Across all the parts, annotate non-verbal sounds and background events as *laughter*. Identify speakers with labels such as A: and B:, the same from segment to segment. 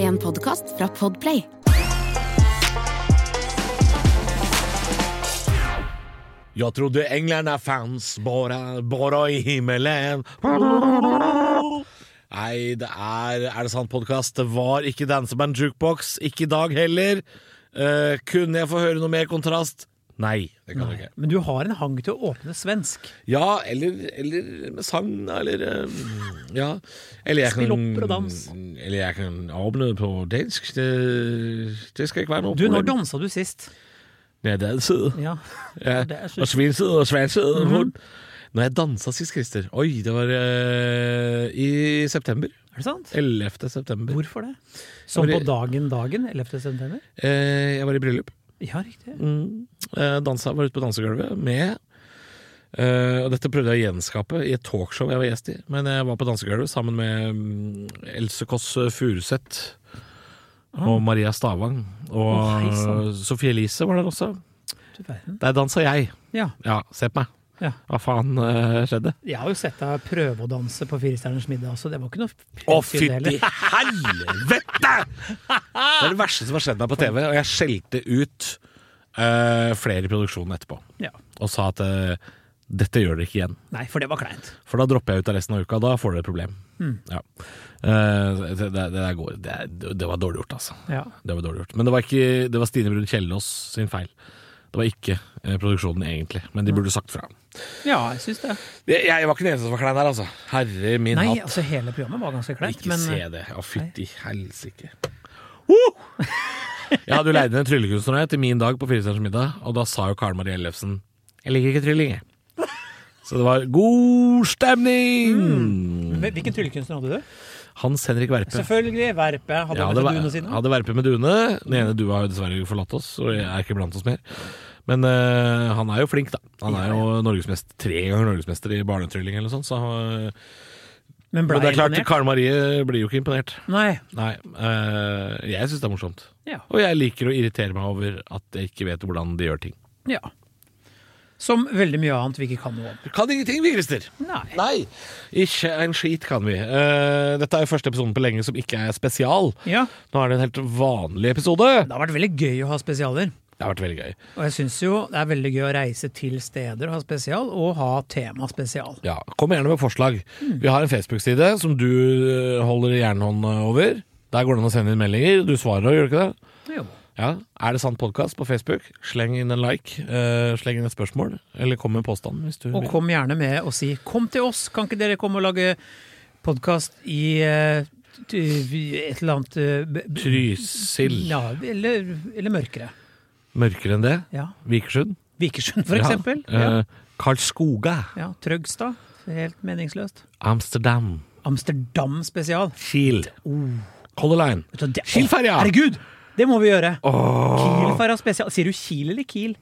A: En podkast fra Podplay.
B: Jag trodde änglarna fanns bara, bara i himmelen. Nei, det er Er det sant, podkast? Det var ikke Danseband Jukebox. Ikke i dag heller. Eh, kunne jeg få høre noe mer kontrast? Nei, det kan du ikke.
C: Men du har en hang til å åpne svensk.
B: Ja, eller, eller med sang, da, eller eh, Ja. Eller jeg
C: Spill
B: kan-
C: opera og dans.
B: Eller jeg kan åpne på dansk. Det, det skal ikke være noe
C: Du, når
B: problem.
C: dansa du sist?
B: Når jeg danset.
C: Ja.
B: Ja,
C: Det er så- Mhm.
B: og svinset og svanset og hund. Når jeg dansa sist, Christer Oi, det var eh, i september.
C: Er det sant?
B: 11. september.
C: Hvorfor det? Som
B: Fordi-
C: på dagen dagen 11. september?
B: Eh, jeg var i bryllup.
C: Ja, riktig.
B: Mm. Eh, dansa, var ute på dansegulvet med eh, Og dette prøvde jeg å gjenskape i et talkshow jeg var gjest i. Men jeg var på dansegulvet sammen med mm, Else Kåss Furuseth og Maria Stavang. Og
C: Ah. Å, hei sann.
B: Sophie Elise var der også.
C: Du verden.
B: Der dansa jeg.
C: Ja.
B: Ja, se på meg.
C: Ja.
B: Hva faen eh, skjedde?
C: Jeg har jo sett deg prøve å danse på Firestjerners middag også, det var ikke noe
B: Å,
C: fint i
B: fytti
C: det heller.
B: helvete! Det er det verste som har skjedd meg på TV, og jeg skjelte ut eh, flere i produksjonen etterpå.
C: Ja.
B: Og sa at eh, dette gjør dere ikke igjen.
C: Nei, for det var kleint.
B: For da dropper jeg ut av resten av uka, da får dere et problem.
C: Hmm.
B: Ja. Eh, det, det, det, der går, det, det var dårlig gjort, altså.
C: Ja.
B: Det var dårlig gjort. Men det var, ikke, det var Stine Brun Kjellås sin feil. Det var ikke eh, produksjonen egentlig, men de burde sagt fra.
C: ja, jeg syns det.
B: Jeg, jeg var ikke den eneste som var klein her, altså. Herre min
C: Nei,
B: hatt.
C: altså hele programmet var ganske kleint,
B: Ikke
C: men eh,
B: se det. Å, fytti helsike. Uh! Jeg hadde jo leid inn en tryllekunstner jeg, til min dag på Firestjerners middag, og da sa jo Karen Marie Ellefsen 'Jeg liker ikke trylling', jeg. Så det var god stemning!
C: Hvil- Hvilken tryllekunstner hadde du?
B: Hans Henrik Verpe.
C: Selvfølgelig Verpe. Hadde
B: Ja,
C: han
B: det
C: vært
B: var,
C: i duene sine?
B: hadde Verpe med duene. Den ene dua har jo dessverre forlatt oss, og er ikke blant oss mer. Men eh, han er jo flink, da. Han er jo norgesmester, tre ganger norgesmester i barnetrylling eller noe sånt. Så, han- eh,
C: Men ble
B: men det er klart,
C: imponert?
B: Karen Marie blir jo ikke imponert.
C: Nei.
B: Nei, eh, jeg syns det er morsomt.
C: Ja.
B: Og jeg liker å irritere meg over at jeg ikke vet hvordan de gjør ting.
C: ja. Som veldig mye annet vi ikke kan noe om.
B: Vi kan ingenting, vi, Christer.
C: Nei.
B: Nei, ikke en skit kan vi. Eh, dette er jo første episoden på lenge som ikke er spesial.
C: Ja.
B: Nå er det en helt vanlig episode.
C: Det har vært veldig gøy å ha spesialer.
B: Det har vært veldig gøy.
C: Og jeg syns jo det er veldig gøy å reise til steder og ha spesial, og ha tema spesial.
B: Ja, Kom gjerne med forslag.
C: Mm.
B: Vi har en Facebook-side som du eh, holder jernhånd over. Der går det an å sende inn meldinger. Du svarer òg, gjør du ikke det?
C: Jo.
B: Ja, Er det sant podkast på Facebook? Sleng inn en like. eh, sleng inn et spørsmål. Eller kom med en påstand. Hvis du
C: Og
B: vil.
C: kom gjerne med og si 'kom til oss', kan ikke dere komme og lage podkast i eh, t- et eller annet eh, b- b-
B: Trysil.
C: Ja, eller, eller mørkere.
B: Mørkere enn det.
C: Ja.
B: Vikersund.
C: Vikersund, for eksempel.
B: Ja.
C: Ja.
B: Eh, Karlskoga.
C: ja. Trøgstad. Helt meningsløst.
B: Amsterdam.
C: Amsterdam spesial.
B: Kiel. Color Line.
C: Vet du, det-
B: Kielferja!
C: Herregud! Det må vi gjøre. Kielferja spesial. Sier du Kiel eller Kiel?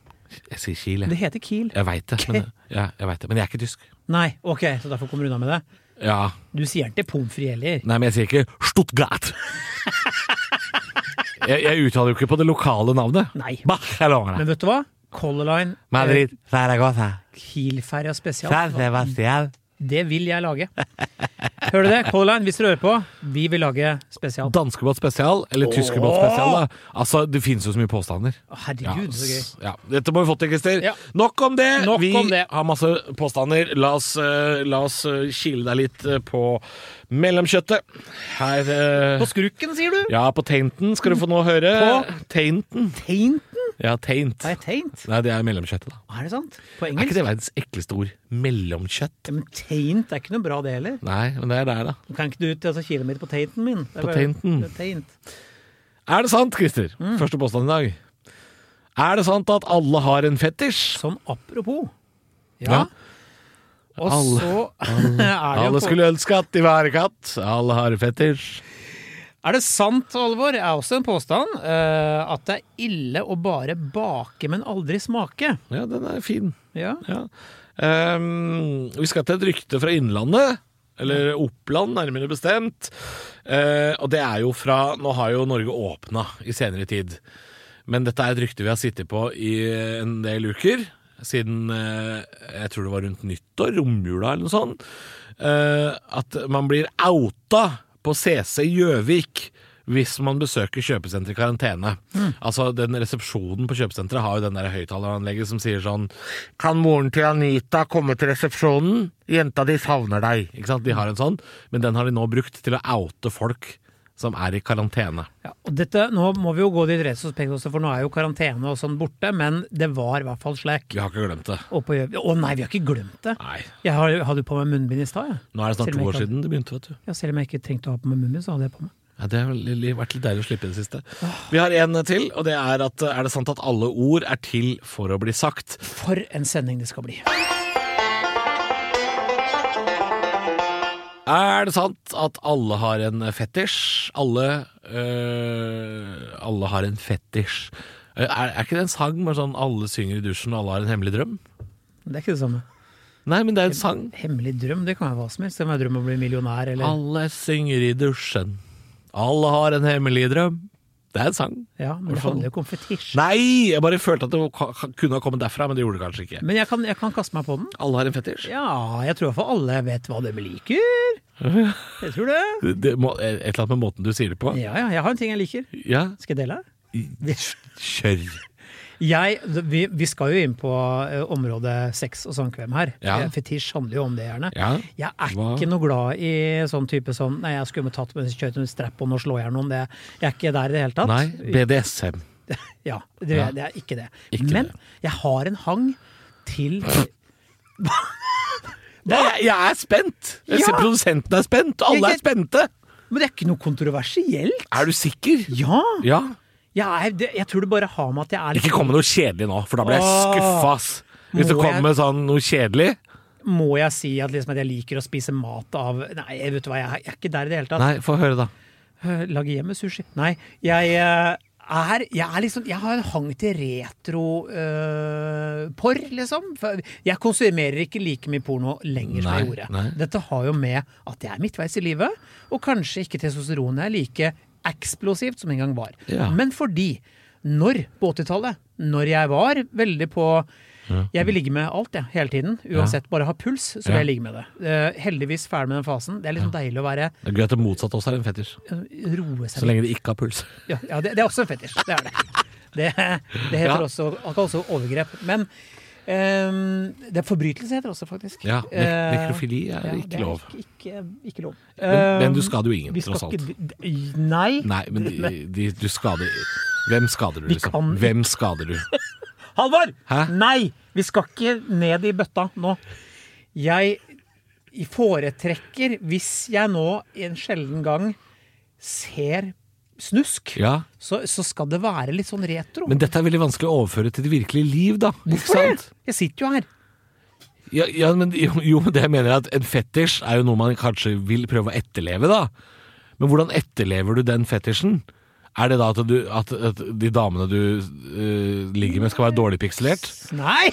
B: Jeg sier Kiel,
C: Det
B: jeg.
C: heter Kiel.
B: Jeg veit det, men, ja, jeg vet det, men jeg er ikke tysk.
C: Nei, ok, så derfor kommer du unna med det.
B: Ja.
C: Du sier den til pommes frites heller.
B: Nei, men jeg sier ikke Stuttgart. *laughs* jeg, jeg uttaler jo ikke på det lokale navnet.
C: Nei.
B: Barcelona.
C: Men vet du hva? Color Line eh,
B: Madrid. Zaragoza.
C: Kielferja spesial.
B: San Sebastian.
C: Det vil jeg lage. Hører du det? Color Line, hvis dere hører på, vi vil lage spesial.
B: Danskebåt spesial, eller tyskebåt spesial, da. Altså, det finnes jo så mye påstander.
C: Å, Herregud, så gøy.
B: s- ja. Dette må vi få til, Christer.
C: Ja.
B: Nok om det.
C: Nok
B: vi
C: om det.
B: har masse påstander. La oss, eh, la oss eh, kile deg litt eh, på mellomkjøttet. Her eh,
C: På skrukken, sier du?
B: Ja, på tainten skal du få noe å høre.
C: På?
B: Tainten.
C: Tainten?
B: Ja, taint.
C: Har jeg taint?
B: Nei, det er mellomkjøttet, da.
C: Er det sant? På
B: Er ikke
C: engelsk?
B: det verdens ekleste ord? Mellomkjøtt?
C: Ja, Men taint er ikke noe bra, det heller.
B: Nei, men det er der, da.
C: Kan ikke du ta altså, kilometer på tainten min? Det er
B: På
C: bare-
B: tainten.
C: det er Taint.
B: Er det sant, Christer?
C: Mm.
B: Første påstand i dag. Er det sant at alle har en fetisj?
C: Sånn apropos.
B: Ja.
C: Ja. Og
B: Alle-
C: så *laughs* er det jo
B: Alle
C: på-
B: skulle ønske at de var katt. Alle har en fetisj.
C: Er det sant, Alvor, er også en påstand, eh, at det er ille å bare bake, men aldri smake?
B: Ja, den er fin.
C: Ja.
B: Ja. Ehm, vi skal til et rykte fra Innlandet. Eller Oppland, nærmere bestemt. Eh, og det er jo fra Nå har jo Norge åpna i senere tid. Men dette er et rykte vi har sittet på i en del uker. Siden eh, jeg tror det var rundt nyttår, romjula eller noe sånt. eh, at man blir outa på CC Gjøvik hvis man besøker kjøpesenteret i karantene. Altså, den Resepsjonen på kjøpesenteret har jo den der høyttaleranlegget som sier sånn Kan moren til Anita komme til resepsjonen? Jenta di savner deg. Ikke sant? De har en sånn, men den har de nå brukt til å oute folk som er i karantene.
C: Ja, og dette, nå må vi jo gå dit retrospekt også, for nå er jo karantene og sånn borte, men det var i hvert fall slik.
B: Vi har ikke glemt det.
C: Og på Gjøvik- Å nei, vi har ikke glemt det!
B: Nei.
C: Jeg har- hadde jo på meg munnbind i stad, jeg.
B: Nå er det snart
C: Selv om
B: to
C: jeg
B: år
C: ikke
B: siden det begynte, vet du.
C: Ja, selv om jeg ikke trengte å ha på meg munnbind, så hadde jeg på meg.
B: Ja, det har vel li- vært litt deilig å slippe i det siste. Vi har en til, og det er at eh, er det sant at alle ord er til for å bli sagt?
C: For en sending det skal bli.
B: Er det sant at alle har en fetisj? Alle øh, Alle har en fetisj. Er, er ikke det en sang med sånn 'alle synger i dusjen, og alle har en hemmelig drøm'?
C: Det er ikke det samme.
B: Nei, men det er en sang.
C: Hemmelig drøm, det kan være hva som helst. Det kan være drøm om å bli millionær, eller
B: Alle synger i dusjen. Alle har en hemmelig drøm. Det er en sang.
C: Ja, men det handler jo ikke om fetisj.
B: Nei! Jeg bare følte at det ka- ka- kunne ha kommet derfra, men det gjorde det kanskje ikke.
C: Men jeg kan, jeg kan kaste meg på den.
B: Alle har en fetisj.
C: Ja, jeg tror i hvert fall alle vet hva de liker. Jeg tror det.
B: Det, det må, et eller annet med måten du sier det på.
C: Ja, ja, jeg har en ting jeg liker.
B: Ja,
C: Skal jeg dele?
B: kjør.
C: Jeg, vi, vi skal jo inn på eh, området sex og samkvem her.
B: Ja.
C: Eh, Fetisj handler jo om det, gjerne.
B: Ja.
C: Jeg er
B: Hva?
C: ikke noe glad i sånn type sånn Nei, jeg skulle tatt med kjørt en strap on og slå i hjel noen. Det, jeg er ikke der i det hele tatt.
B: Nei, BDSM.
C: Ja, det,
B: Ja.
C: det er ikke det.
B: Ikke
C: Men
B: det.
C: jeg har en hang til
B: jeg, jeg er spent! Jeg
C: Ja.
B: ser produsenten er spent, og alle
C: Jeg-
B: er spente!
C: Men det er ikke noe kontroversielt.
B: Er du sikker?
C: Ja!
B: Ja.
C: Jeg, er, det, jeg tror det bare har med at jeg er litt
B: Ikke kom med noe kjedelig nå, for da blir jeg
C: Åh.
B: skuffa, ass. Hvis du
C: Må jeg-
B: kommer med sånn noe kjedelig
C: Må jeg si at, liksom, at jeg liker å spise mat av Nei, vet du hva, jeg, er- jeg er ikke der i det hele tatt.
B: Nei, få høre, da.
C: Øh, Lage hjemmesushi. Nei, jeg eh, er, jeg er liksom Jeg har en hang til retro-porr, liksom. For Jeg konsumerer ikke like mye porno lenger som jeg
B: Nei,
C: gjorde.
B: nei.
C: Dette har jo med at jeg er midtveis i livet, og kanskje ikke testosteronet er like eksplosivt som det en gang var.
B: Ja.
C: Men fordi når, på 80-tallet, når jeg var veldig på Jeg vil ligge med alt, jeg, hele tiden. Uansett. Bare ha puls, så vil
B: Ja.
C: jeg ligge med det. Eh, heldigvis ferdig med den fasen. Det er liksom deilig å være
B: Det er gøy at det motsatte også er en fetisj.
C: eh, roe seg
B: Så lenge det ikke har puls.
C: ja, ja det, det er også en fetisj. Det er det. Det, det heter
B: Ja.
C: også, det er også overgrep. Men ehm, det er forbrytelse heter det også, faktisk.
B: Ja, nek
C: Eh,
B: Nekrofili er
C: ja, det
B: ikke lov.
C: Ikke, ikke, ikke lov.
B: Men, men du
C: Ehm,
B: skader jo ingen,
C: vi skal
B: tross alt.
C: ikke- d- Nei.
B: Nei, men de, de, du skader Hvem skader du,
C: Vi
B: liksom?
C: kan-
B: Hvem skader du?
C: Halvor!
B: Hæ?
C: Nei! Vi skal ikke ned i bøtta nå. Jeg foretrekker, hvis jeg nå en sjelden gang ser snusk,
B: Ja.
C: så, så skal det være litt sånn retro.
B: Men dette er veldig vanskelig å overføre til det virkelige liv, da. Ikke sant?
C: Jeg sitter jo her.
B: Ja, ja men jo, jo, men det jeg mener er at en fetisj er jo noe man kanskje vil prøve å etterleve, da. Men hvordan etterlever du den fetisjen? Er det da at, du, at, at de damene du eh, ligger med skal være dårlig pikselert?
C: Nei!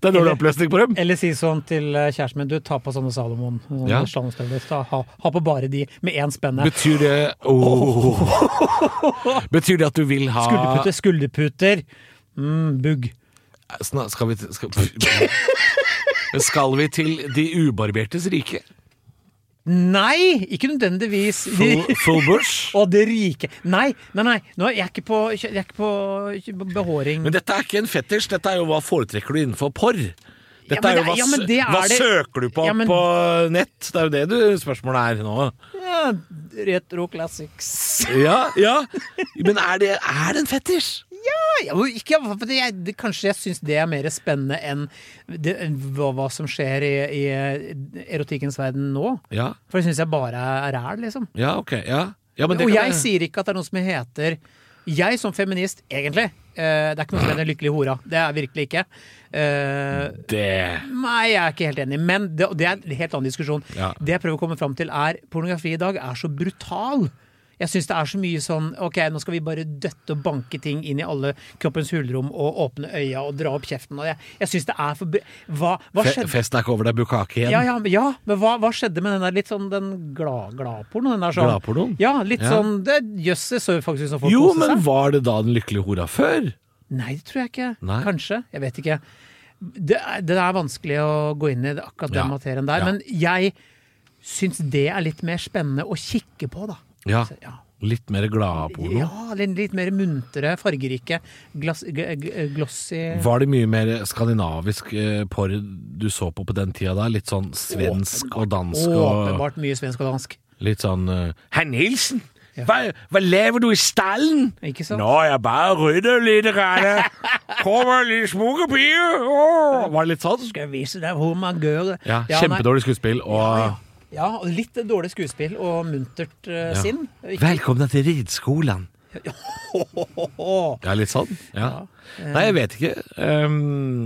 B: Det er dårlig oppløsning på dem!
C: Eller si sånn til eh, kjæresten min, du ta på sånne Salomon. Sånne
B: Ja.
C: slalåmstøvler. Ta- Ha, ha på bare de, med én spenne.
B: Betyr det *laughs* Åh. Betyr det at du vil ha
C: Skulderputer, skulderputer. Mm, bugg.
B: Sna- Skal vi til- skal, skal vi til de ubarbertes rike?
C: Nei! Ikke nødvendigvis.
B: *laughs*
C: De,
B: Full, full bush?
C: og det rike. Nei, nei, nei. Nå, jeg er ikke på, jeg er ikke på ikke på behåring.
B: Men dette er ikke en fetisj, dette er jo hva foretrekker du innenfor porr. Dette er
C: Ja, men
B: jo
C: det-
B: hva,
C: ja, men det er
B: hva
C: det-
B: søker du på
C: Ja, men-
B: på nett? Det er jo det du spørsmålet er nå.
C: ja, retro classics.
B: Ja, ja. Men er det, er det en fetisj?
C: Ja, men ikke, for det, jeg, det, kanskje jeg syns det er mer spennende enn det, enn hva, hva som skjer i, i erotikkens verden nå.
B: Ja,
C: For det syns jeg bare er ræl, liksom.
B: ja, ok. Ja. Ja, men det kan
C: og jeg sier ikke at det er noe som heter Jeg som feminist, egentlig eh, Det er ikke noe som heter lykkelig hora. Det er jeg virkelig ikke. Eh,
B: Det
C: nei, jeg er ikke helt enig. Men det, og det er en helt annen diskusjon.
B: Ja.
C: Det jeg prøver å komme fram til, er pornografi i dag er så brutal. Jeg syns det er så mye sånn OK, nå skal vi bare døtte og banke ting inn i alle kroppens hulrom og åpne øya og dra opp kjeften. Og jeg, jeg syns det er for br- Hva, hva
B: Fe,
C: skjedde?
B: Festen er ikke over, det er bukkake igjen.
C: Ja, ja, men- ja, men hva, hva skjedde med den der litt sånn den glad- gladpornoen? den der sånn-
B: Gladpornoen?
C: Ja, litt
B: Ja.
C: sånn det- Jøss, det så jo faktisk ut som folk
B: Jo,
C: koste
B: men
C: seg.
B: var det da den lykkelige hora før?
C: Nei, det tror jeg ikke.
B: Nei.
C: Kanskje. Jeg vet ikke. Det er, det er vanskelig å gå inn i det- akkurat
B: Ja.
C: den materien der.
B: Ja.
C: Men jeg syns det er litt mer spennende å kikke på, da.
B: Ja.
C: Så, Altså, ja.
B: Litt mer gladporno.
C: Ja, litt, litt mer muntre, fargerike, glass, g g glossy
B: Var det mye mer skandinavisk eh, porr du så på på den tida da? Litt sånn svensk og dansk og
C: Åpenbart mye svensk og dansk.
B: litt sånn eh, Herr Nilsen! Hva, hva lever du i stallen?
C: Ikke sant?
B: Nå, jeg bare rydder litt.
C: *laughs*
B: Rane. Kommer en liten smukkepie. Åh. Var det litt sånn?
C: Skal jeg vise deg hvor man gjør det?
B: Ja,
C: nei.
B: Kjempedårlig skuespill og
C: Ja, ja, og litt dårlig skuespill og muntert eh, sinn. Ikke-
B: Velkommen til rideskolen. Ja, litt sånn. Ja. Nei, jeg vet ikke. Um,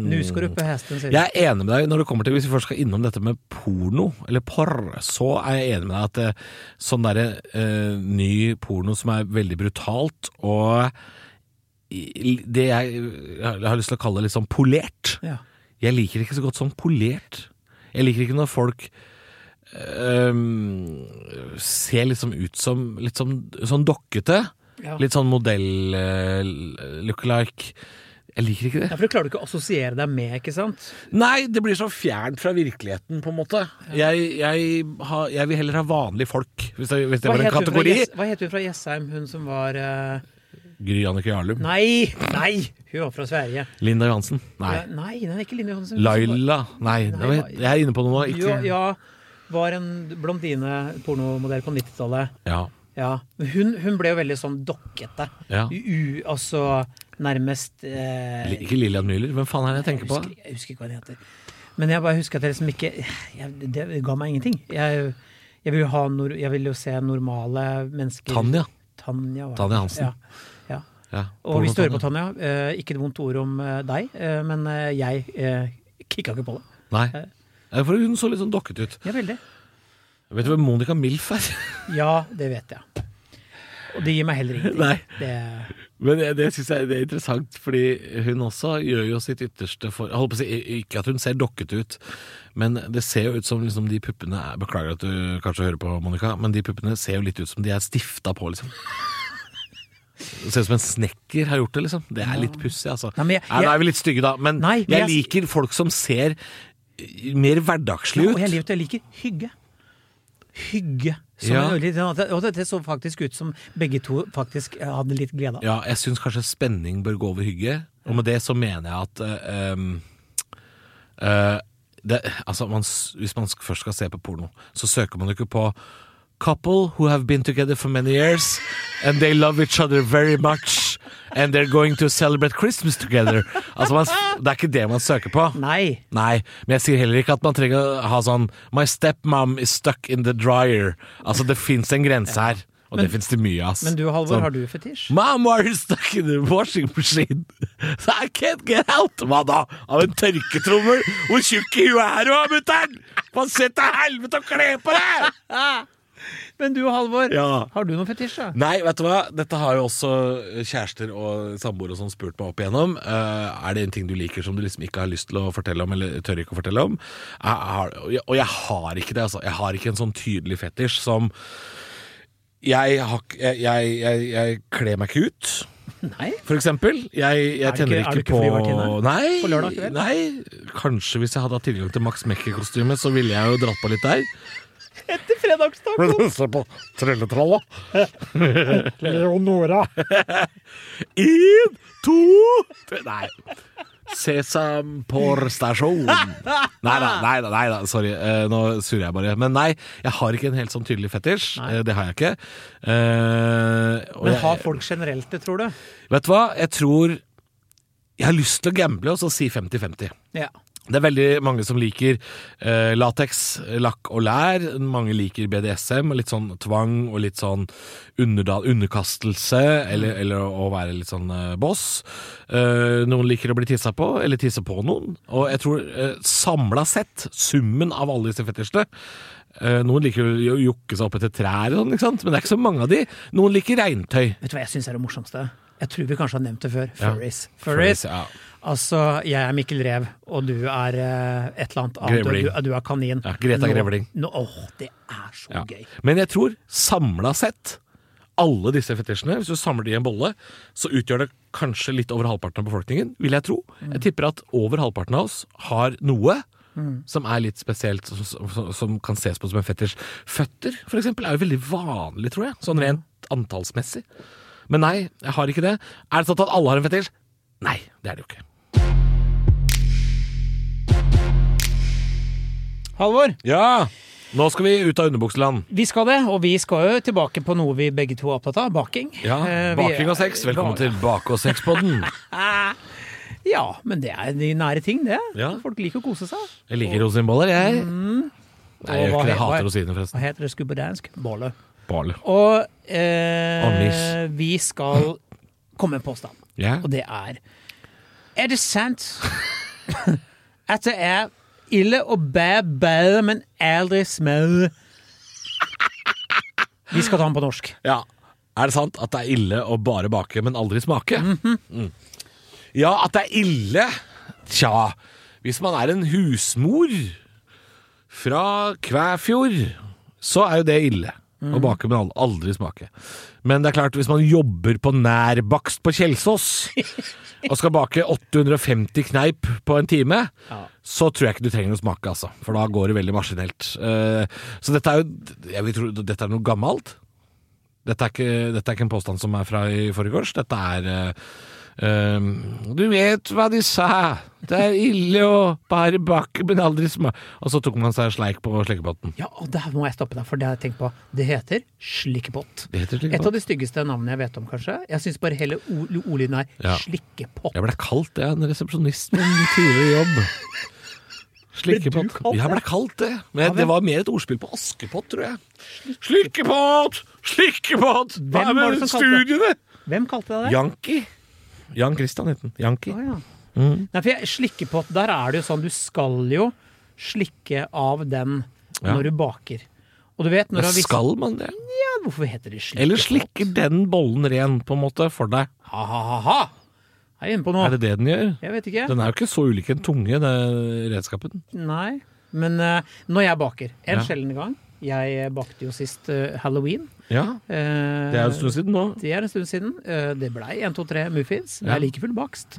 C: Nu eh. skal du på hesten, sier du.
B: Jeg er enig med deg når det kommer til Hvis vi først skal innom dette med porno, eller porr, så er jeg enig med deg at eh, sånn derre eh, ny porno som er veldig brutalt og i- det jeg, jeg har lyst til å kalle litt sånn polert.
C: Ja.
B: Jeg liker ikke så godt sånn polert. Jeg liker ikke når folk øhm, ser liksom ut som litt sånn, sånn dokkete.
C: Ja.
B: Litt sånn modell øh, lookalike. Jeg liker ikke
C: Ja,
B: det.
C: for du klarer du ikke å assosiere deg med, ikke sant?
B: Nei, det blir så fjernt fra virkeligheten, på en måte. Jeg, jeg, har- jeg vil heller ha vanlige folk, hvis det, hvis det var en
C: het hun fra
B: kategori.
C: Jess- hva het hun fra Jessheim, hun som var eh,
B: Gry Annike Jarlum.
C: Nei! Nei! Hun var fra Sverige.
B: Linda Johansen. Nei.
C: Ja, nei, nei, ikke Linni Johansen.
B: Laila. Nei,
C: Nei,
B: det var- jeg er inne på noe nå.
C: Jo,
B: Ikke.
C: ja, var en blondine pornomodell på 90-tallet.
B: Ja.
C: Ja. Men Hun, hun ble jo veldig sånn dokkete.
B: Ja.
C: U, altså nærmest eh,
B: Li- Ikke Lillian Myhler. Hvem faen er det jeg tenker på?
C: husker, jeg husker ikke hva det heter. Men jeg bare husker at jeg liksom ikke jeg, Det ga meg ingenting. Jeg, jeg, vil jo ha nor, jeg vil jo se normale mennesker.
B: Tanja.
C: Tanja, var det.
B: Tanja Hansen.
C: Ja. ja.
B: Ja,
C: Og hvis du hører på Tanja, eh, ikke et vondt ord om eh, deg, eh, men eh, jeg eh, kicka ikke på det.
B: Nei. Ja, For hun så litt sånn dokket ut.
C: Ja, veldig.
B: Vet du hvem Monica Milf er?
C: Ja, det vet jeg. Og det gir meg heller ingenting.
B: Nei.
C: Det,
B: Men det, det syns jeg det er interessant, fordi hun også gjør jo sitt ytterste for Jeg holdt på å si i- ikke at hun ser dokket ut, men det ser jo ut som liksom de puppene er Beklager at du kanskje hører på, Monica, men de puppene ser jo litt ut som de er stifta på, liksom. Det ser ut som en snekker har gjort det, liksom. Det er litt pussig, altså. Nei,
C: Nei, men jeg-
B: nå er vi litt stygge, da, men,
C: Nei,
B: jeg,
C: men jeg-
B: liker folk som ser eh, mer hverdagslig
C: og
B: ut.
C: jeg liker, jeg liker hygge. Hygge. Som
B: Ja.
C: en veldig- og det- det så faktisk ut som begge to faktisk eh, hadde litt glede av.
B: Ja, jeg syns kanskje spenning bør gå over hygge. Og med det så mener jeg at eh, em, eh, det, altså man, s- Hvis man sk- først skal se på porno, så søker man jo ikke på Couple who have been together for many years and they love each other very much and they're going to celebrate Christmas together. Altså man, s- Det er ikke det man søker på.
C: Nei!
B: Nei, men jeg sier heller ikke at man trenger å ha sånn My stepmom is stuck in the dryer. Altså Det fins en grense her. Og det fins det mye av. ass.
C: Men du, Halvor,
B: Sånn.
C: har du fetisj?
B: Mom are stuck in the washing machine *laughs* So I can't get out Hva da? Av en tørketrommel Hvor tjukk i huet er du, mutter'n? Hva sett til helvete og kle på deg?
C: Men du, Halvor,
B: Ja.
C: har du noen fetisj? da?
B: Nei, vet du hva? Dette har jo også kjærester og samboere og sånn spurt meg opp igjennom. Eh, er det en ting du liker som du liksom ikke har lyst til å fortelle om, eller tør ikke å fortelle om? Jeg har, og jeg- og jeg har ikke det, altså. Jeg har ikke en sånn tydelig fetisj som Jeg, har, ikke- jeg, jeg, jeg, jeg kler meg ikke ut.
C: Nei?
B: For eksempel. Jeg, jeg
C: du
B: tenner
C: ikke- er
B: ikke,
C: du ikke
B: på
C: flyvertinne?
B: Nei,
C: På lørdag kveld?
B: nei, kanskje hvis jeg hadde hatt tilgang til Max Mekker-kostyme, så ville jeg jo dratt på litt *laughs* der.
C: Etter fredagstaco!
B: Se på
C: *laughs*
B: trelletralla. *laughs*
C: Leonora.
B: Én, to tre. Nei. Sesam por stasjon. Nei da, nei da, nei da. sorry. Eh, nå surrer jeg bare. Men nei, jeg har ikke en helt sånn tydelig fetisj.
C: Nei.
B: Eh, det har jeg ikke. Eh, og
C: Men
B: jeg-
C: har folk generelt det, tror du?
B: Vet du hva? Jeg tror Jeg har lyst til å gamble og så si 50-50.
C: Ja.
B: Det er veldig mange som liker eh, lateks, lakk og lær. Mange liker BDSM og litt sånn tvang og litt sånn underda- underkastelse, eller, eller å være litt sånn eh, boss. Eh, noen liker å bli tissa på, eller tisse på noen. Og jeg tror eh, samla sett, summen av alle disse fetisjene eh, Noen liker jo å jukke seg opp etter trær, og sånn, ikke sant? men det er ikke så mange av de. Noen liker regntøy.
C: Vet du hva jeg syns er det morsomste? Jeg tror vi kanskje har nevnt det før.
B: Ja.
C: Furries. Furries.
B: ja.
C: Altså, jeg er Mikkel Rev, og du er eh, et eller annet annet.
B: Grevling.
C: Du, du er kanin.
B: Ja, Greta
C: Nå-
B: Grevling.
C: Nå, åh, det er så
B: Ja.
C: gøy.
B: Men jeg tror samla sett, alle disse fetisjene, hvis du samler de i en bolle, så utgjør det
C: Mm.
B: kanskje litt over halvparten av befolkningen, vil jeg tro. Jeg tipper at over halvparten av oss har noe
C: Mm.
B: som er litt spesielt, som, som, som kan ses på som en fetisj. Føtter, for eksempel, er jo veldig vanlig, tror jeg, sånn rent antallsmessig. Men nei, jeg har ikke det. Er det sånn at alle har en fetisj? Nei, det er det jo ikke.
C: Halvor,
B: Ja! Nå skal vi ut av underbukseland.
C: vi skal det, og vi skal jo tilbake på noe vi begge to er opptatt av, baking.
B: Ja,
C: Eh, vi
B: Baking og
C: er-
B: sex. Velkommen
C: ba-
B: til Bake- og sexpodden. *laughs*
C: Ja, men det er de nære ting, det.
B: Ja.
C: Folk liker å kose seg.
B: Jeg liker rosinboller, jeg. Nei, jeg
C: Og
B: gjør
C: hva
B: ikke det. Jeg
C: he- hva-
B: hater rosiner,
C: Hva
B: forresten.
C: heter det skubbe dansk? Bolle.
B: Barle.
C: Og
B: Anis.
C: eh, vi skal komme med en påstand,
B: Ja.
C: og det er Er det sant at det er ille å bære bade, men aldri smøre? Vi skal ta den på norsk.
B: Ja. Er det sant at det er ille å bare bake, men aldri smake? Mm. Ja, at det er ille Tja, hvis man er en husmor fra Kvæfjord, så er jo det ille. Å bake, men al- aldri smake. Men det er klart, hvis man jobber på nærbakst på Kjelsås *laughs* og skal bake 850 kneip på en time,
C: Ja.
B: så tror jeg ikke du trenger å smake, altså. For da går det veldig maskinelt. Eh, Så dette er jo jeg vil tro, Dette er noe gammelt. Dette er, ikke, dette er ikke en påstand som er fra i forgårs. Dette er eh, eh, Du vet hva de sa! Det er ille å bare bakke, men aldri smake Og så tok man seg en sleik på slekebåten.
C: Ja, og der må jeg stoppe deg, for det har jeg tenkt på. Det heter slikkepott.
B: Det heter
C: Et av
B: slikkepott.
C: de styggeste navnene jeg vet om, kanskje. Jeg syns bare hele o- ordlyden er
B: Ja.
C: slikkepott.
B: Jeg ble kalt det av en resepsjonist med min tidligere jobb.
C: Ble du
B: Slikkepott.
C: kalt det?
B: Jeg ble kalt det. Men
C: vel.
B: det var mer et ordspill på askepott, tror jeg. Slikkepott! Slikkepott! Hva
C: Hvem
B: er
C: var
B: med
C: det som kalte
B: studiene?
C: Hvem kalte det det?
B: Janki. Jan Christian het den. Janki.
C: Å, ja.
B: Mm.
C: Nei, for jeg, slikkepott, der er det jo sånn, du skal jo slikke av den
B: Ja.
C: når du baker. Og du vet når du har visst
B: Skal man det?
C: ja, Hvorfor heter det slikkepott?
B: Eller slikker den bollen ren, på en måte, for deg?
C: Ha-ha-ha! Er jeg inne på noe?
B: Er det det den gjør?
C: Jeg vet ikke.
B: Den er jo ikke så ulik en tunge, den redskapen.
C: Nei. Men eh, når jeg baker, en
B: Ja.
C: sjelden gang Jeg bakte jo sist eh, halloween.
B: Ja,
C: Eh,
B: det er jo en stund siden nå.
C: Det er en stund siden. Eh, Det blei 1, 2, 3 muffins.
B: Mm.
C: Det
B: Ja. Mm.
C: er like full bakst.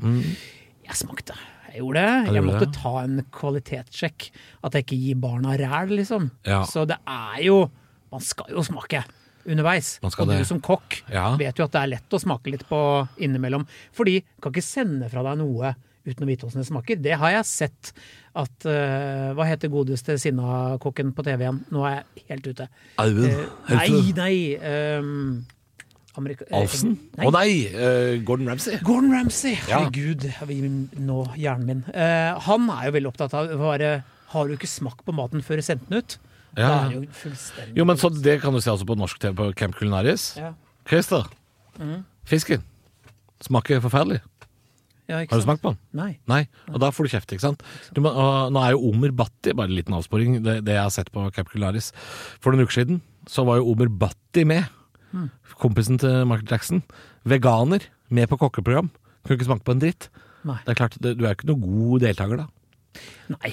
C: Jeg smakte. Jeg gjorde det. Jeg
B: gjorde
C: måtte
B: det.
C: ta en kvalitetssjekk. At jeg ikke gir barna ræl, liksom.
B: Ja.
C: Så det er jo Man skal jo smake underveis.
B: Man skal
C: Og du
B: det.
C: som kokk
B: Ja.
C: vet jo at det er lett å smake litt på innimellom. Fordi du kan ikke sende fra deg noe uten å vite åssen det smaker. Det har jeg sett at eh, Hva heter godeste sinnakokken på TV igjen? Nå er jeg helt ute. Eh, nei, nei ehm, Amerika eh,
B: Alfsen?
C: Nei.
B: Å nei, eh, Gordon Ramsay.
C: Gordon Ramsay!
B: Ja.
C: Herregud, jeg vil nå hjernen min. Eh, han er jo veldig opptatt av å være Har du ikke smakt på maten før du sendte den ut? Da
B: Ja.
C: er det jo fullstendig
B: Jo, men så det kan du se altså på norsk TV på Camp Culinaris.
C: ja.
B: Christer, fisken smaker forferdelig.
C: Ja, ikke
B: Har du
C: sant?
B: smakt på den?
C: Nei.
B: Nei, og da får du kjeft, ikke sant? Du må, og nå er jo Omer Bhatti, bare en liten avsporing, det, det jeg har sett på Cap Cularis. For noen uker siden så var jo Omer Bhatti med, kompisen til Michael Jackson. Veganer, med på kokkeprogram. Kunne ikke smake på en dritt.
C: Nei.
B: Det er klart, det, du er jo ikke noen god deltaker da.
C: Nei.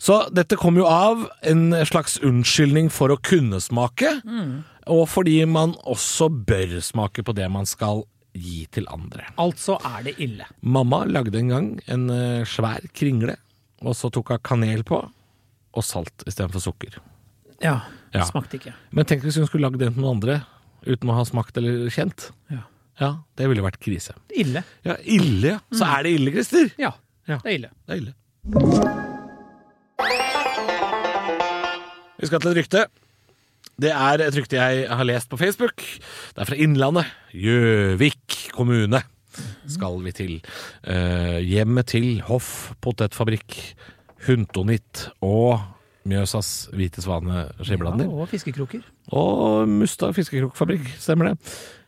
B: Så dette kom jo av en slags unnskyldning for å kunne smake, og fordi man også bør smake på det man skal gi til andre.
C: Altså er det ille.
B: Mamma lagde en gang en eh, svær kringle, og så tok hun kanel på, og salt istedenfor sukker.
C: Ja.
B: Ja.
C: Smakte ikke.
B: Men tenk hvis hun skulle lagd den til noen andre uten å ha smakt eller kjent.
C: Ja.
B: Ja, det ville vært krise.
C: Ille.
B: Ja, ille, ja. Så er det ille, Christer!
C: Ja.
B: Ja.
C: Det er ille.
B: Det er ille. Vi skal til et rykte. Det er et rykte jeg har lest på Facebook. Det er fra Innlandet. Gjøvik kommune skal vi til. Eh, hjemmet til Hoff potetfabrikk, Huntonit og Mjøsas hvite svane skiblander.
C: Ja, og fiskekroker.
B: Og Mustad fiskekrokfabrikk, stemmer det.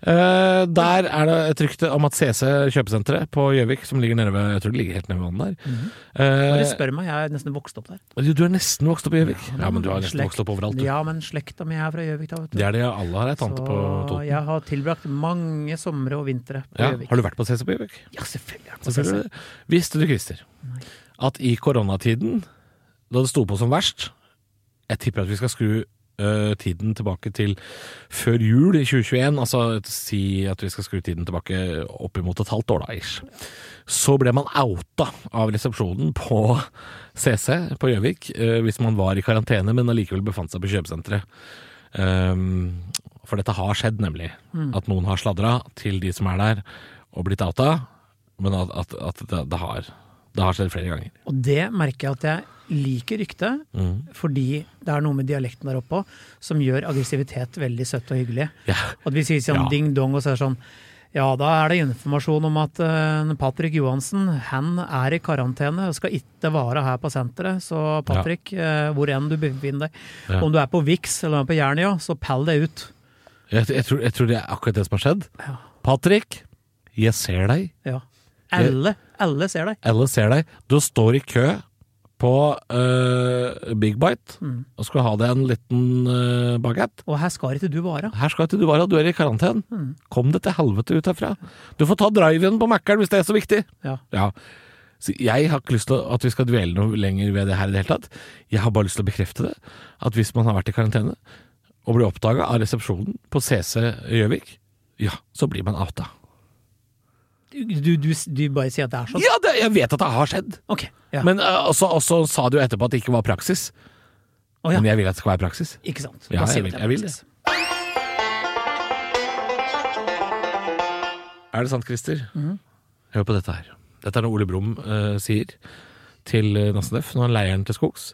B: Eh, der er det et rykte om at CC kjøpesenteret på Gjøvik, som ligger nede ved Jeg tror det ligger helt nede ved vannet der.
C: Mhm. Bare
B: Eh,
C: spør meg, jeg er nesten vokst opp der.
B: jo, du er nesten vokst opp i Gjøvik. Ja, men du har nesten
C: Slekt-
B: vokst opp overalt, du.
C: Ja, men slekta mi er fra Gjøvik, da, vet du.
B: Det er det alle har, ei tante på
C: Så
B: Toten.
C: jeg har tilbrakt mange somre og vintre på
B: Ja.
C: Gjøvik.
B: Har du vært på CC på Gjøvik?
C: Ja, selvfølgelig. er det på
B: Selvfølgelig. Visste du, Christer, at i koronatiden, da det sto på som verst Jeg tipper at vi skal skru eh, tiden tilbake til før jul i 2021, altså si at vi skal skru tiden tilbake oppimot et halvt år da, ish, så ble man outa av resepsjonen på CC på Gjøvik eh, hvis man var i karantene, men allikevel befant seg på kjøpesenteret. Um, for dette har skjedd, nemlig. At noen har sladra til de som er der, og blitt outa. Men at, at, at det, det, har, det har skjedd flere ganger.
C: Og det merker jeg at jeg liker ryktet,
B: Mm.
C: fordi det er noe med dialekten der oppe også, som gjør aggressivitet veldig søtt og hyggelig.
B: Ja.
C: At vi sier sånn
B: Ja.
C: ding-dong, og så er det sånn ja, da er det informasjon om at eh, Patrick Johansen han er i karantene og skal ikke være her på senteret. Så Patrick, eh, hvor enn du befinner deg,
B: Ja.
C: om du er på Vix eller på Jernia, så pell deg ut.
B: Jeg, jeg, tror, jeg tror det er akkurat det som har skjedd.
C: Ja.
B: Patrick, jeg ser deg.
C: Ja. Alle, alle ser deg.
B: Alle ser deg. Du står i kø på eh, Big Bite og skal ha deg en liten uh, bagett.
C: Og her skal ikke du være.
B: Her skal ikke du være, du er i karantene. Kom deg til helvete ut herfra. Du får ta drive-in på Mækkern hvis det er så viktig.
C: Ja.
B: Ja. Så jeg har ikke lyst til at vi skal dvele noe lenger ved det her i det hele tatt. Jeg har bare lyst til å bekrefte det, at hvis man har vært i karantene og blir oppdaga av resepsjonen på CC Gjøvik, ja, så blir man outa.
C: Du, du, du bare sier at det er sånn?
B: Ja, det, jeg vet at det har skjedd,
C: Ok. Ja.
B: men eh, også, også sa du jo etterpå at det ikke var praksis.
C: Å, ja.
B: Men jeg vil at det skal være praksis.
C: Ikke sant?
B: Ja,
C: Da sier
B: jeg
C: vi
B: vil-
C: det,
B: jeg vil
C: faktisk.
B: Er det sant, Christer? Hør på dette her. Dette er noe Ole Brumm eh, sier til uh, Nassenef når han leier den til skogs.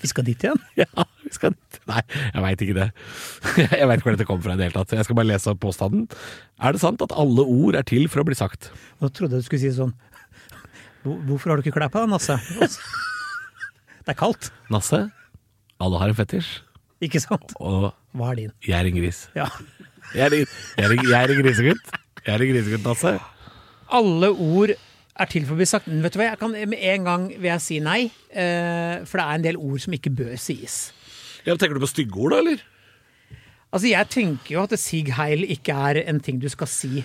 C: Vi skal dit igjen?
B: *laughs* Ja, vi skal dit. Nei, jeg veit ikke det. *laughs* Jeg veit ikke hvor dette kommer fra i det hele tatt. Jeg skal bare lese opp påstanden. Er det sant at alle ord er til for å bli sagt?
C: Nå trodde jeg du skulle si sånn «Hvor- Hvorfor har du ikke klær på deg, Nasse? *laughs* Det er kaldt,
B: Nasse, alle har en fetisj,
C: ikke sant?
B: og
C: Hva er din?
B: jeg er en gris.
C: Ja.
B: Jeg er en, jeg er en, jeg er en grisegutt. Jeg er en grisegutt, Nasse.
C: Alle ord er til for å bli sagt. Men Vet du hva, jeg kan, med en gang vil jeg si nei. eh, For det er en del ord som ikke bør sies.
B: Ja, tenker du på stygge ord, da, eller?
C: Altså, jeg tenker jo at sig heil ikke er en ting du skal si.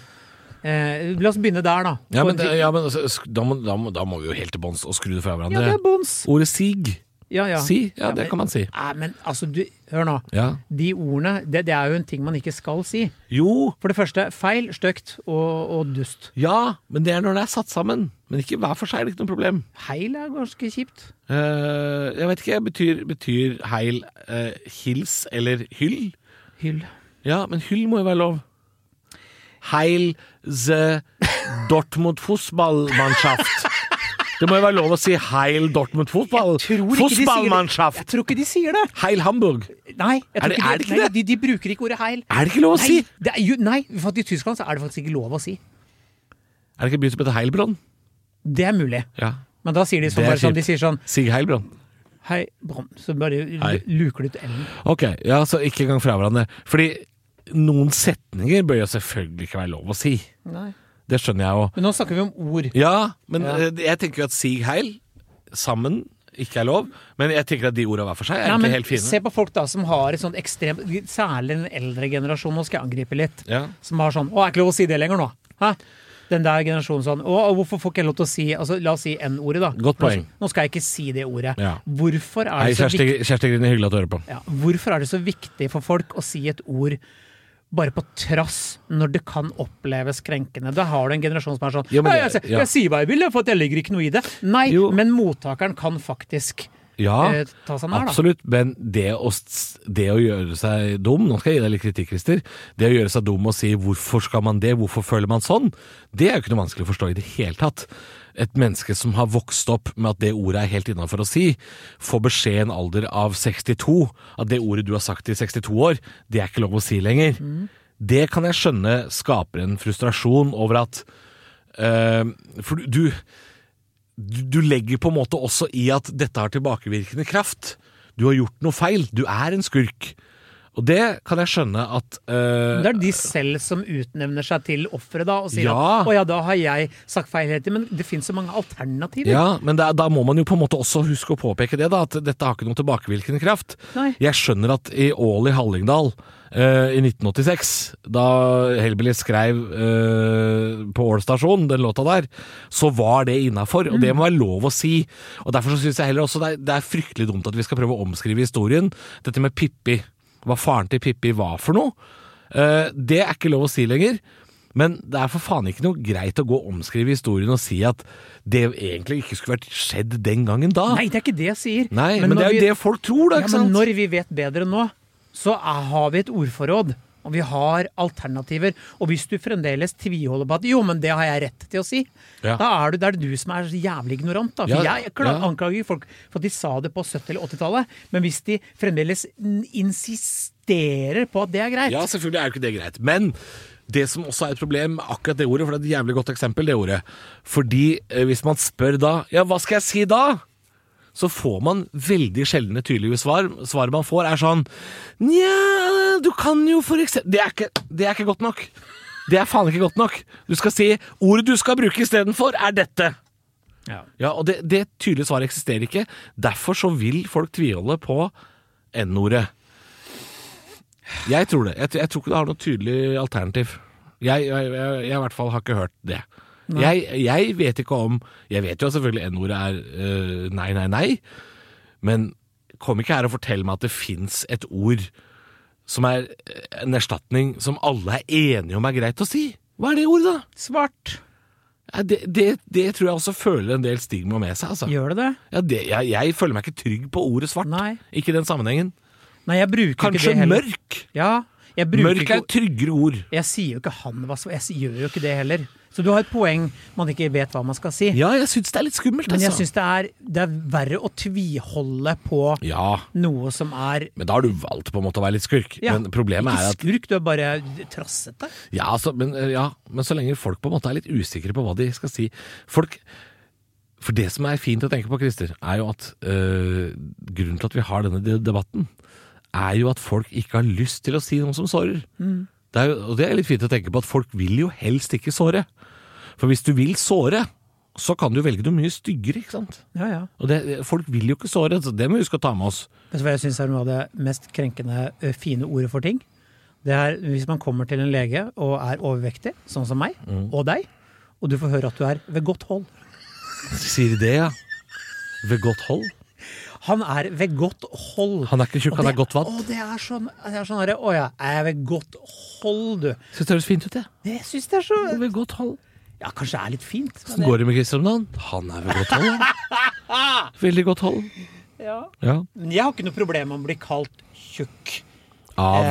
C: Eh, La oss begynne der, da.
B: Ja,
C: På
B: men,
C: en ting-
B: ja, men altså, sk- da, må, da, må, da må vi jo helt til bånns og skru det fra
C: ja, det
B: hverandre.
C: er bons.
B: Ordet sig.
C: Ja, ja.
B: Si? Ja, det kan man si.
C: Nei, men altså, du, hør nå.
B: Ja.
C: De ordene, det, det er jo en ting man ikke skal si.
B: Jo,
C: For det første, feil, stygt og, og dust.
B: ja, men det er når det er satt sammen. Men ikke hver for seg, det er ikke noe problem.
C: Heil er ganske kjipt.
B: Eh, jeg vet ikke, betyr, betyr heil eh, hils eller hyll?
C: Hyll.
B: Ja, men hyll må jo være lov. Heil the Dortmund Fußballmannschaft. Det må jo være lov å si heil Dortmund Fotball.
C: Jeg
B: Fußballmannschaft!
C: tror ikke de sier det.
B: Heil Hamburg!
C: Nei, jeg
B: Er
C: tror
B: det-
C: ikke
B: er det
C: de,
B: ikke
C: nei
B: det?
C: de, de bruker ikke ordet heil.
B: Er det ikke lov å si?
C: Nei, det er, jo, nei, for at i Tyskland så er det faktisk ikke lov å si.
B: Er det ikke en by som heter Heilbronn?
C: Det er mulig.
B: Ja.
C: Men da sier de sånn,
B: Det er
C: bare sånn, de
B: kjipt.
C: sier sånn
B: Sig Heilbronn.
C: Hei, Bram. Så bare l-
B: Hei.
C: luker du ut L-en.
B: Ok, ja, så ikke engang fra hverandre. Fordi noen setninger bør jo selvfølgelig ikke være lov å si.
C: Nei.
B: Det skjønner jeg jo.
C: Men nå snakker vi om ord.
B: Ja, men
C: Ja.
B: eh, jeg tenker jo at sig heil sammen ikke er lov. Men jeg tenker at de orda hver for seg er
C: Nei,
B: egentlig
C: men
B: helt fine.
C: Se på folk da som har et sånt ekstremt Særlig den eldre generasjonen, nå skal jeg angripe litt.
B: Ja.
C: Som har sånn Å, er ikke lov å si det lenger nå? Hæ? Den der generasjonen sånn Å, hvorfor får ikke jeg lov til å si altså, La oss si N-ordet, da.
B: Godt poeng.
C: Nå skal jeg ikke si det ordet.
B: Ja.
C: Hvorfor er
B: Nei,
C: det så
B: Kjersti,
C: viktig
B: Kjersti Grine, hyggelig at du hører på.
C: ja, Hvorfor er det så viktig for folk å si et ord bare på trass, når det kan oppleves krenkende? Da har du en generasjon som er sånn
B: Ja, men
C: «Nei,
B: det-
C: jeg, sier-
B: ja.
C: jeg sier hva jeg vil, for at jeg legger ikke noe i det. Nei,
B: Jo.
C: men mottakeren kan faktisk
B: Ja,
C: eh, ta seg nær, da.
B: absolutt. Men det å, s- det å gjøre seg dum Nå skal jeg gi deg litt kritikk, Christer. Det å gjøre seg dum og si 'hvorfor skal man det', 'hvorfor føler man sånn', det er jo ikke noe vanskelig å forstå i det hele tatt. Et menneske som har vokst opp med at det ordet er helt innafor å si, får beskjed i en alder av 62 at det ordet du har sagt i 62 år, det er ikke lov å si lenger.
C: Mm.
B: Det kan jeg skjønne skaper en frustrasjon over at eh, For du, du du, du legger på en måte også i at dette har tilbakevirkende kraft. Du har gjort noe feil. Du er en skurk. Og det kan jeg skjønne at eh,
C: Det er de selv som utnevner seg til offeret, da, og sier
B: Ja.
C: at 'å ja, da har jeg sagt feil hele tiden'. Men det finnes så mange alternativer.
B: Ja, men da, da må man jo på en måte også huske å påpeke det, da, at dette har ikke noen tilbakevirkende kraft.
C: Nei.
B: Jeg skjønner at i Ål i Hallingdal, eh, i 1986, da Hellbillies skrev eh, på Ål stasjon, den låta der, så var det innafor, og det
C: Mm.
B: må være lov å si. Og Derfor så syns jeg heller også det er, det er fryktelig dumt at vi skal prøve å omskrive historien. Dette med Pippi, hva faren til Pippi var for noe, eh, det er ikke lov å si lenger. Men det er for faen ikke noe greit å gå og omskrive historien og si at det egentlig ikke skulle vært skjedd den gangen da.
C: Nei, det er ikke det jeg sier.
B: Nei, men, det
C: når
B: er jo
C: vi-
B: det folk tror, da.
C: Ja,
B: ikke sant?
C: men når vi vet bedre nå, så er, har vi et ordforråd. Og vi har alternativer. Og hvis du fremdeles tviholder på at jo, men det har jeg rett til å si,
B: Ja.
C: da er du, det er du som er så jævlig ignorant. Da. For
B: Ja,
C: Jeg
B: ja.
C: kla- anklager folk for at de sa det på 70- eller 80-tallet, men hvis de fremdeles n- insisterer på at det er greit
B: Ja, selvfølgelig er jo ikke det greit. Men det som også er et problem, akkurat det ordet, for det er et jævlig godt eksempel, det ordet. Fordi eh, hvis man spør da Ja, hva skal jeg si da? Så får man veldig sjeldne tydelige svar. Svaret man får, er sånn Nja, du kan jo for eksempel det er, ikke, det er ikke godt nok. Det er faen ikke godt nok. Du skal si Ordet du skal bruke istedenfor, er dette.
C: Ja.
B: Ja, og det, det tydelige svaret eksisterer ikke. Derfor så vil folk tviholde på N-ordet. Jeg tror det. Jeg, t- jeg tror ikke det har noe tydelig alternativ. Jeg, jeg, jeg, jeg i hvert fall har ikke hørt det. Jeg, jeg vet ikke om Jeg vet jo selvfølgelig N-ordet er øh, nei, nei, nei. Men kom ikke her og fortell meg at det fins et ord som er øh, en erstatning som alle er enige om er greit å si. Hva er det ordet, da?
C: Svart.
B: Ja, det, det, det tror jeg også føler en del stigma med seg. Altså.
C: Gjør det det?
B: Ja, det, jeg, jeg føler meg ikke trygg på ordet svart.
C: Nei.
B: Ikke i den sammenhengen.
C: Nei, jeg bruker ikke
B: Kanskje
C: det heller.
B: mørk.
C: Ja, jeg bruker
B: Mørk
C: ikke
B: er et tryggere ord.
C: Jeg sier jo ikke han var svart, jeg s- gjør jo ikke det heller. Så du har et poeng man ikke vet hva man skal si.
B: Ja, jeg syns det er litt skummelt.
C: Men jeg
B: altså.
C: syns det, er- det er verre å tviholde på
B: Ja,
C: noe som er
B: men da har du valgt på en måte å være litt skurk.
C: ja,
B: men problemet
C: ikke
B: er at
C: skurk, du er bare trassete.
B: ja, altså, men, ja, men så lenge folk på en måte er litt usikre på hva de skal si Folk For det som er fint å tenke på, Christer, er jo at øh, grunnen til at vi har denne de- debatten, er jo at folk ikke har lyst til å si noe som sårer.
C: Mm.
B: Det er jo, og det er litt fint å tenke på at folk vil jo helst ikke såre. For hvis du vil såre, så kan du velge noe mye styggere, ikke sant?
C: Ja, ja.
B: Og det, folk vil jo ikke såre, så det må vi huske å ta med oss.
C: Vet du hva jeg syns er noe av det mest krenkende ø, fine ordet for ting? Det er hvis man kommer til en lege og er overvektig, sånn som meg,
B: Mm.
C: og deg, og du får høre at du er ved godt hold.
B: Sier de det, ja? Ved godt hold?
C: Han er ved godt hold.
B: Han er ikke tjukk,
C: Og
B: han
C: det-
B: er godt vatt.
C: Å, det er sånn, det er sånn herre, Å ja, jeg er ved godt hold, du.
B: Syns det høres fint ut, jeg.
C: Jeg syns det er så
B: Ja. Ved godt hold.
C: Ja, kanskje det er litt fint. men
B: Hvordan går det med Christer om dagen? Han er ved godt hold. han. *laughs* Veldig godt hold.
C: det- Ja.
B: Ja.
C: Men jeg har ikke noe problem med å bli kalt tjukk. Eh.
B: Av.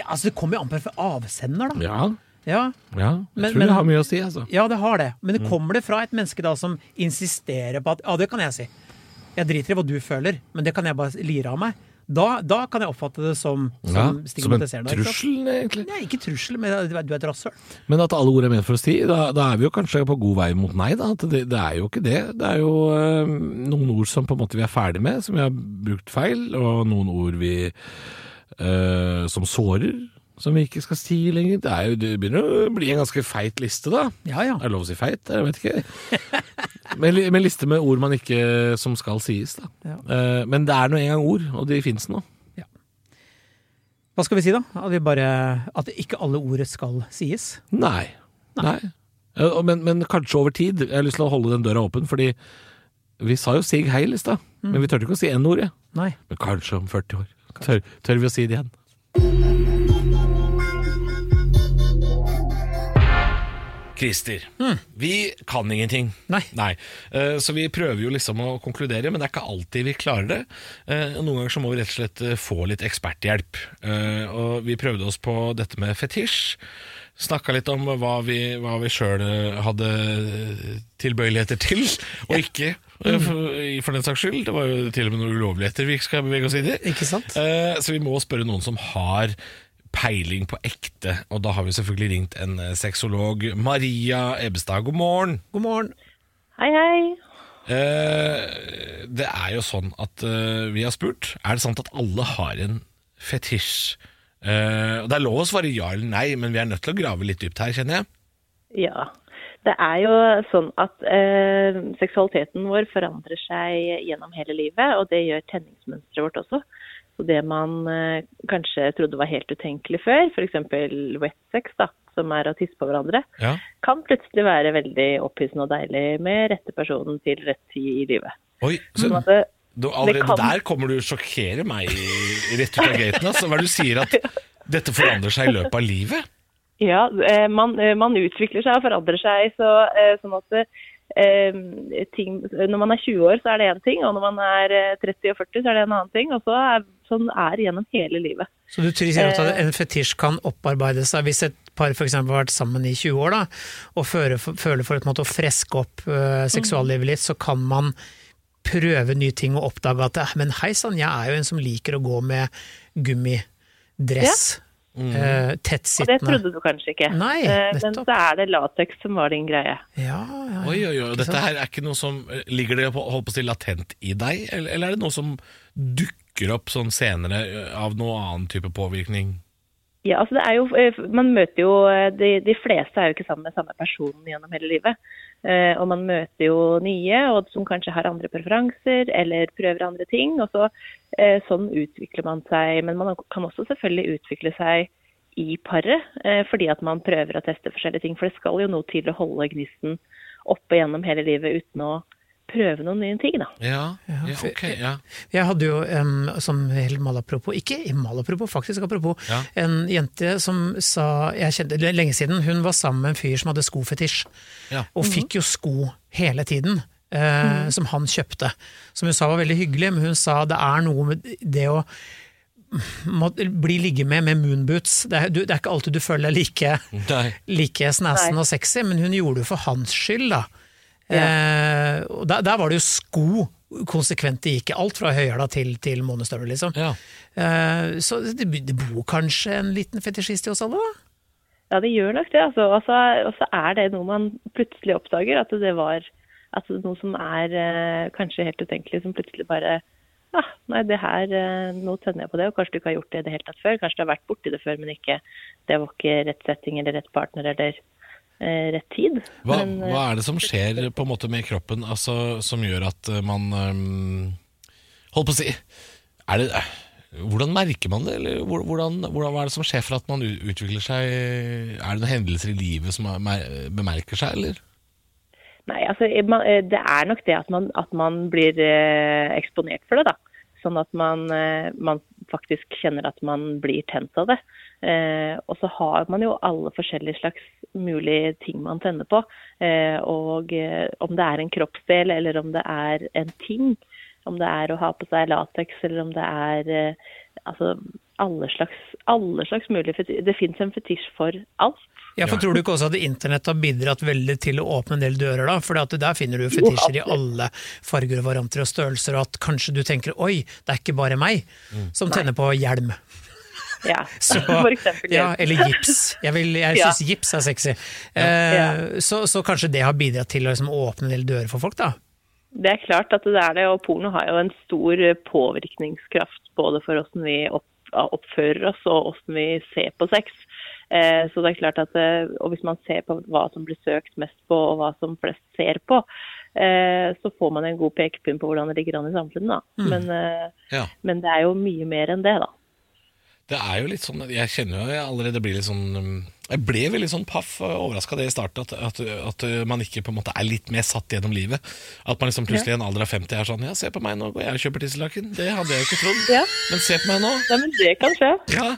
C: Ja, altså, det kommer jo an på hvem avsender, da.
B: Ja.
C: Ja.
B: ja. Jeg
C: Men-
B: tror
C: men-
B: det har mye å si, altså.
C: ja, det har det. Men det kommer det fra et menneske da som insisterer på at Ja, det kan jeg si. Jeg driter i hva du føler, men det kan jeg bare lire av meg. Da, da kan jeg oppfatte det som,
B: Ja.
C: som
B: Som en
C: stigmatiserende. ikke sant?
B: trussel, egentlig.
C: Nei, ikke trussel, men du er du er et rasshøl.
B: Men at alle ord er ment for å si, da, da er vi jo kanskje på god vei mot nei, da. At det, det er jo ikke det. Det er jo eh, noen ord som på en måte vi er ferdig med, som vi har brukt feil, og noen ord vi eh, som sårer, som vi ikke skal si lenger. Det, er jo, det begynner å bli en ganske feit liste, da.
C: Ja, ja.
B: Er det lov å si feit? Jeg vet ikke. *laughs* Med, li- med liste med ord man ikke som skal sies, da.
C: Ja.
B: Eh, men det er nå engang ord, og de fins nå.
C: Hva skal vi si, da? At, vi bare, at ikke alle ordet skal sies?
B: Nei. Nei. Eh, og- Men, men kanskje over tid. Jeg har lyst til å holde den døra åpen, fordi vi sa jo Sig Heil i stad, men vi turte ikke å si N-ordet.
C: Nei.
B: Men kanskje om 40 år. Tør, tør vi å si det igjen? Christer, vi kan ingenting.
C: Nei.
B: Eh, Så vi prøver jo liksom å konkludere, men det er ikke alltid vi klarer det. Eh, og Noen ganger så må vi rett og slett eh, få litt eksperthjelp. Eh, Og vi prøvde oss på dette med fetisj. Snakka litt om hva vi, hva vi sjøl eh, hadde eh, tilbøyeligheter til, og ikke. eh, For, for den saks skyld. Det var jo til og med noen ulovligheter vi ikke skal bevege oss inn i.
C: Ikke sant?
B: Eh, Så vi må spørre noen som har peiling på ekte, og da har vi selvfølgelig ringt en eh, sexolog. Maria Ebbestad, god morgen.
C: God morgen.
A: Hei, hei.
B: Eh, Det er jo sånn at eh, vi har spurt, er det sant at alle har en fetisj? Eh, og Det er lov å svare ja eller nei, men vi er nødt til å grave litt dypt her, kjenner jeg.
A: Ja. Det er jo sånn at eh, seksualiteten vår forandrer seg gjennom hele livet, og det gjør tenningsmønsteret vårt også. Så det man eh, kanskje trodde var helt utenkelig før, f.eks. wet sex, da, som er å tisse på hverandre,
B: Ja.
A: kan plutselig være veldig opphissende og deilig med rette personen til rett tid i livet.
B: Oi, så
A: Sånn at det,
B: du, allerede
A: kan-
B: der kommer du og sjokkerer meg i- rett ut av gaten. Altså. Hva er det du sier at
A: *laughs*
B: dette forandrer seg i løpet av livet?
A: ja, eh, man, eh, man utvikler seg og forandrer seg, så, eh, sånn at eh, ting, når man er 20 år, så er det én ting, og når man er eh, 30 og 40, så er det en annen ting. Og så er, sånn er det gjennom hele livet.
C: Så du tror sier
A: Eh.
C: at en fetisj kan opparbeide seg hvis et par for eksempel har vært sammen i 20 år da, og føler for, føler for et måte å freske opp eh,
A: Mm.
C: seksuallivet litt, så kan man prøve nye ting og oppdage at eh, men hei sann, jeg er jo en som liker å gå med gummidress, eh,
A: Mm. Og det
C: tettsittende.
A: trodde du kanskje ikke.
C: Nei,
A: Eh, Men
C: nettopp.
A: så er det lateks som var din greie.
C: Ja, ja,
B: Oi,
C: ja.
B: oi, oi, dette her er ikke noe som eh, Ligger det på, holdt på å si latent i deg, eller, eller er det noe som dukker opp sånn senere eh, av noe annen type påvirkning?
A: Ja, altså det er jo, eh, Man møter jo eh, de, de fleste er jo ikke sammen med samme personen gjennom hele livet. Eh, og man møter jo nye og som kanskje har andre preferanser eller prøver andre ting. og så eh, Sånn utvikler man seg. Men man kan også selvfølgelig utvikle seg i paret eh, fordi at man prøver å teste forskjellige ting. For det skal jo noe til å holde gnisten oppe gjennom hele livet uten å prøve noen nye ting. da.
B: Ja, ja,
C: for-
B: ok, ja.
C: Jeg hadde jo, em, som helt malapropos, ikke malapropos, faktisk apropos,
B: Ja.
C: en jente som sa, jeg kjente det er lenge siden, hun var sammen med en fyr som hadde skofetisj,
B: Ja.
C: og fikk jo sko hele tiden. eh, Som han kjøpte. Som hun sa var veldig hyggelig, men hun sa det er noe med det å må, bli ligge med med moonboots. Det er, du, det er ikke alltid du føler deg like
B: Nei.
C: like snasen
A: Nei.
C: og sexy, men hun gjorde det for hans skyld, da.
A: Ja.
C: Eh, og der, der var det jo sko konsekvent det gikk i. Alt fra høyhæla til, til månestøvler, liksom.
B: Ja.
C: Eh, så det, det bor kanskje en liten fetisjist i oss alle, da?
A: Ja, det gjør nok det. Altså. Og så- Og så er det noe man plutselig oppdager, at det var at det er noe som er eh, kanskje helt utenkelig, som plutselig bare ja, nei, det her, eh, nå tenner jeg på det, og kanskje du ikke har gjort det i det hele tatt før. Kanskje du har vært borti det før, men ikke Det var ikke rett setting eller rett partner eller eh, rett tid.
B: Hva,
A: men, eh,
B: hva er det som skjer på en måte med kroppen altså, som gjør at eh, man ehm, Holdt på å si er det, eh, Hvordan merker man det? Eller hvor- hvordan, hvordan, hva er det som skjer for at man u- utvikler seg? Er det noen hendelser i livet som er, mer- bemerker seg, eller?
A: Nei, altså eh, man, eh, det er nok det at man, at man blir eh, eksponert for det, da. Sånn at man, eh, man faktisk kjenner at man blir tent av det. Eh, og så har man jo alle forskjellige slags mulige ting man tenner på. Eh, og eh, om det er en kroppsdel, eller om det er en ting. Om det er å ha på seg lateks, eller om det er eh, altså alle slags, alle slags mulige fetisj. Det fins en fetisj for alt.
C: Ja, for
B: Ja.
C: Tror du ikke også at internett har bidratt veldig til å åpne en del dører? da? For der finner du fetisjer i alle farger og varianter og størrelser, og at kanskje du tenker 'oi, det er ikke bare meg
B: Mm.
C: som tenner på hjelm'.
A: Ja,
C: Så,
A: *laughs* for eksempel.
C: ja, eller gips. Jeg, vil- jeg
A: Ja.
C: syns gips er sexy. Eh, så, så kanskje det har bidratt til å liksom, åpne en del dører for folk, da.
A: Det er klart at det er det, og porno har jo en stor eh, påvirkningskraft både for hvordan vi opp, oppfører oss og hvordan vi ser på sex. Eh, så det er klart at, eh, og Hvis man ser på hva som blir søkt mest på og hva som flest ser på, eh, så får man en god pekepinn på hvordan det ligger an i samfunnet. Da.
B: Mm.
A: Men, eh,
B: Ja.
A: men det er jo mye mer enn det, da.
B: Det er jo litt sånn, Jeg kjenner jo jeg allerede blir litt sånn um, Jeg ble veldig sånn paff og overraska det i starten, at, at, at uh, man ikke på en måte er litt mer satt gjennom livet. At man liksom plutselig i en alder av 50 er sånn Ja, se på meg nå, går jeg og kjøper tisselaken. Det hadde jeg jo ikke trodd.
A: Ja.
B: Men se på meg nå.
A: Nei, men det kan skje.
B: Ja,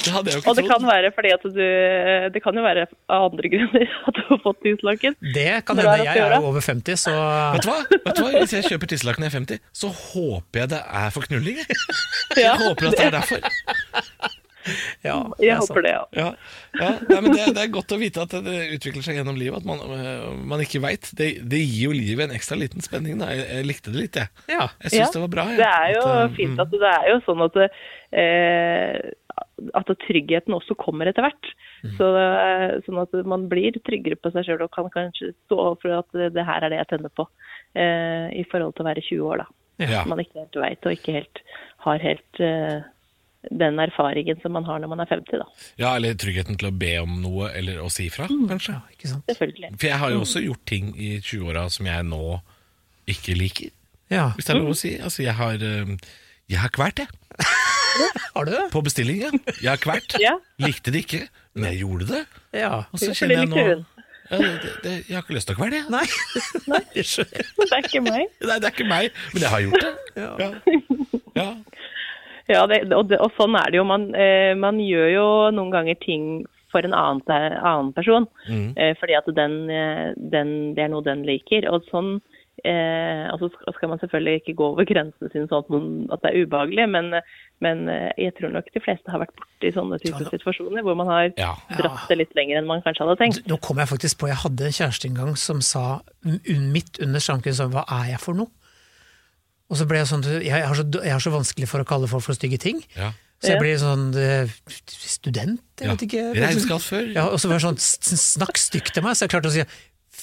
B: det hadde jeg jo
A: Og det
B: ikke
A: kan
B: trodd.
A: være fordi at du eh, Det kan jo være av andre grunner *laughs* at du har fått tusenlaken.
C: Det kan
A: Når du
C: hende.
A: er
C: Jeg er
A: oppe i
C: jo over 50, så
B: Vet du hva? Vet du hva? Hvis jeg kjøper tisselaken når jeg er 50, så håper jeg det er for knulling. jeg.
A: Ja,
B: Jeg håper at det er derfor.
C: ja,
A: *laughs* Jeg håper det, ja.
B: Ja, ja. Nei, men det, det er godt å vite at det utvikler seg gjennom livet, at man, øh, man ikke veit. Det, det gir jo livet en ekstra liten spenning. Da. Jeg, jeg likte det litt, jeg.
C: Ja.
B: Jeg syns det var bra. jeg.
A: Det er jo
B: At, øh,
A: fint at det er jo sånn at, eh, at tryggheten også kommer etter hvert.
B: Mm.
A: Så, eh, sånn at man blir tryggere på seg sjøl og kan kanskje stå for at det- det her er det jeg tenner på. eh, I forhold til å være 20 år, da.
B: Ja.
A: Som Man ikke helt veit og ikke helt har helt eh, den erfaringen som man har når man er 50, da.
B: Mm. ja, eller tryggheten til å be om noe, eller å si fra, kanskje.
C: Ikke sant?
A: Selvfølgelig.
B: For jeg har jo også gjort ting i 20-åra som jeg nå ikke liker,
C: Ja.
A: Mm.
B: hvis det er lov å si. Altså, jeg har øh, Jeg har eh, kvært, jeg.
C: Har du det?
B: På bestilling, ja. Jeg har kvert.
A: *laughs* Ja.
B: Likte det ikke, men jeg gjorde det.
C: Ja.
B: Og så
A: Hvorfor
B: kjenner jeg nå
A: likte du den?
B: ja, det, det, Jeg har ikke lyst til å kvele, jeg.
C: Nei. *laughs* Jeg skjønner.
A: Det er ikke meg.
B: Nei, det er ikke meg, men jeg har gjort
C: *laughs*
B: det. Ja. Ja.
A: Ja, det, og, det, og sånn er det jo. Man, eh, man gjør jo noen ganger ting for en annen, annen person. Eh, fordi at den, eh, den, det er noe den liker. Og sånn eh, altså sk- skal man selvfølgelig ikke gå over grensene sine sånn at man- at det er ubehagelig, men, eh, men eh, jeg tror nok de fleste har vært borti sånne typer situasjoner hvor man har
B: Ja.
A: dratt det litt lenger enn man kanskje hadde tenkt.
C: Nå kom jeg faktisk på, jeg hadde en kjæreste en gang som sa un- midt under slanken sånn, hva er jeg for noe? Og så ble jeg sånn, jeg har så, jeg har så vanskelig for å kalle folk for stygge ting.
B: Ja.
C: Så jeg
A: Ja.
C: blir sånn eh, student, jeg vet ikke.
B: Regnskapsfører.
C: Ja, og så var det sånn, s- snakk stygt til meg, så jeg klarte å si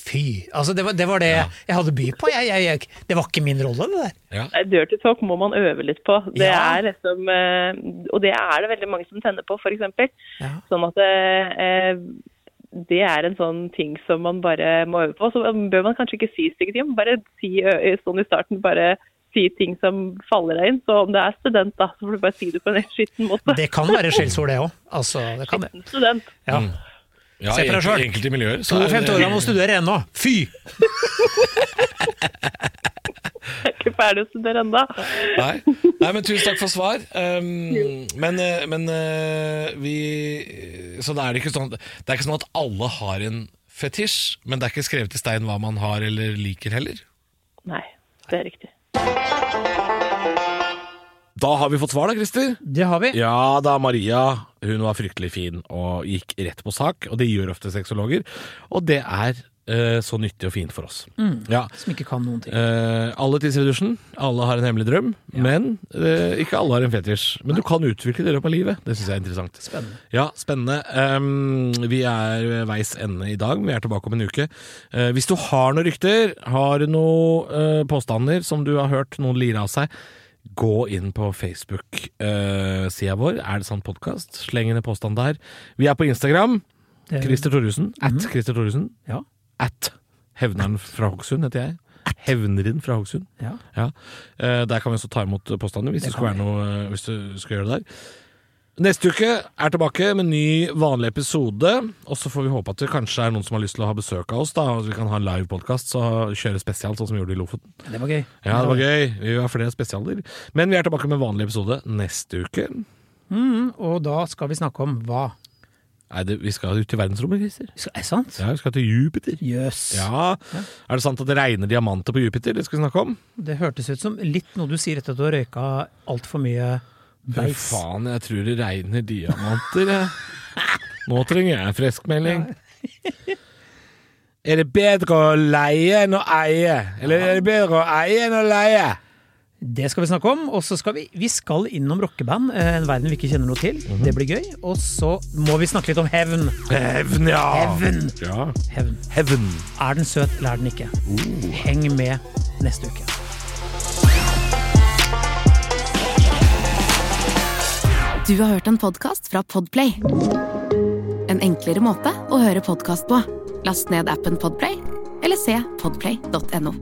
C: fy. Altså det var det, var det jeg hadde by på, jeg, jeg, jeg, det var ikke min rolle det der.
B: Ja.
A: Nei, Dirty talk må man øve litt på. Det
C: Ja.
A: er liksom, eh, og det er det veldig mange som tenner på, f.eks.
C: Ja.
A: Sånn at eh, det er en sånn ting som man bare må øve på. Så bør man kanskje ikke si stygge ting, men bare si ø- sånn i starten. bare si ting som faller deg inn. Så om det er student, da, så får du bare si det på en helt skitten måte.
C: Det kan være skjellsord det også, altså det kan det.
A: Skitten student.
C: Ja.
B: Mm. Ja,
C: Se på
B: i
C: deg selv.
B: enkelte miljøer. så er
C: 52
B: det-
C: år gammel studere ennå, fy!
A: Jeg er ikke ferdig å studere ennå.
B: Nei. Nei, men tusen takk for svar. Um, men eh, men eh, vi Så det er det ikke sånn Det er ikke sånn at alle har en fetisj, men det er ikke skrevet i stein hva man har eller liker heller.
A: Nei, det er riktig.
B: Da har vi fått svar, da, Christer.
C: Det har vi.
B: Ja da, Maria hun var fryktelig fin og gikk rett på sak, og det gjør ofte sexologer. Og det er eh, så nyttig og fint for oss. Ja.
C: Som ikke kan noen ting.
B: Eh, alle tisser i dusjen, alle har en hemmelig drøm, men eh, ikke alle har en fetisj. Men du kan utvikle det i løpet av livet. Det syns jeg er interessant.
C: Spennende.
B: Ja, spennende. Um, vi er ved veis ende i dag, men vi er tilbake om en uke. Eh, hvis du har noen rykter, har du noen eh, påstander som du har hørt noen lire av seg, gå inn på Facebook-sida vår, Er det sant podkast? Sleng inn en påstand der. Vi er på Instagram.
C: Det- Mhm.
B: Christer Thoresen. At Christer Thoresen.
C: Ja.
B: At Hevneren fra Hokksund heter jeg. Hevneren fra Hokksund.
C: Ja.
B: Ja. Eh, Der kan vi også ta imot påstander hvis det, skulle være noe eh, Hvis du skal gjøre det der. Neste uke er tilbake med en ny vanlig episode. Og så får vi håpe at det kanskje er noen som har lyst til å ha besøk av oss. da og Vi kan ha en live podkast og kjøre spesial, sånn som vi gjorde i Lofoten.
C: Det var gøy.
B: Ja, det var gøy. Vi har flere spesialer. Men vi er tilbake med en vanlig episode neste uke.
C: Og da skal vi snakke om hva?
B: Nei, det, vi skal ut i verdensrommet, Christer.
C: Er det sant?
B: Ja, vi skal til Jupiter.
C: Jøss.
B: Ja. Er det sant at det regner diamanter på Jupiter? Det skal vi snakke om.
C: Det hørtes ut som litt noe du sier etter at du har røyka altfor mye
B: Fy
C: beis.
B: faen, jeg tror det regner diamanter. jeg. Nå trenger jeg en friskmelding. *laughs* Er det bedre å leie enn å eie? Eller er det bedre å eie enn å leie?
C: Det skal vi snakke om. Og så skal vi, vi skal innom rockeband. eh, En verden vi ikke kjenner noe til. Det blir gøy. Og så må vi snakke litt om hevn.
B: Hevn, ja.
C: Hevn.
B: Ja.
C: Hevn.
B: Hevn.
C: Er den søt, eller er den ikke? Heng med neste uke.
D: Du har hørt en podcast fra Podplay En enklere måte å høre podcast på Last ned appen Podplay Eller se podplay.no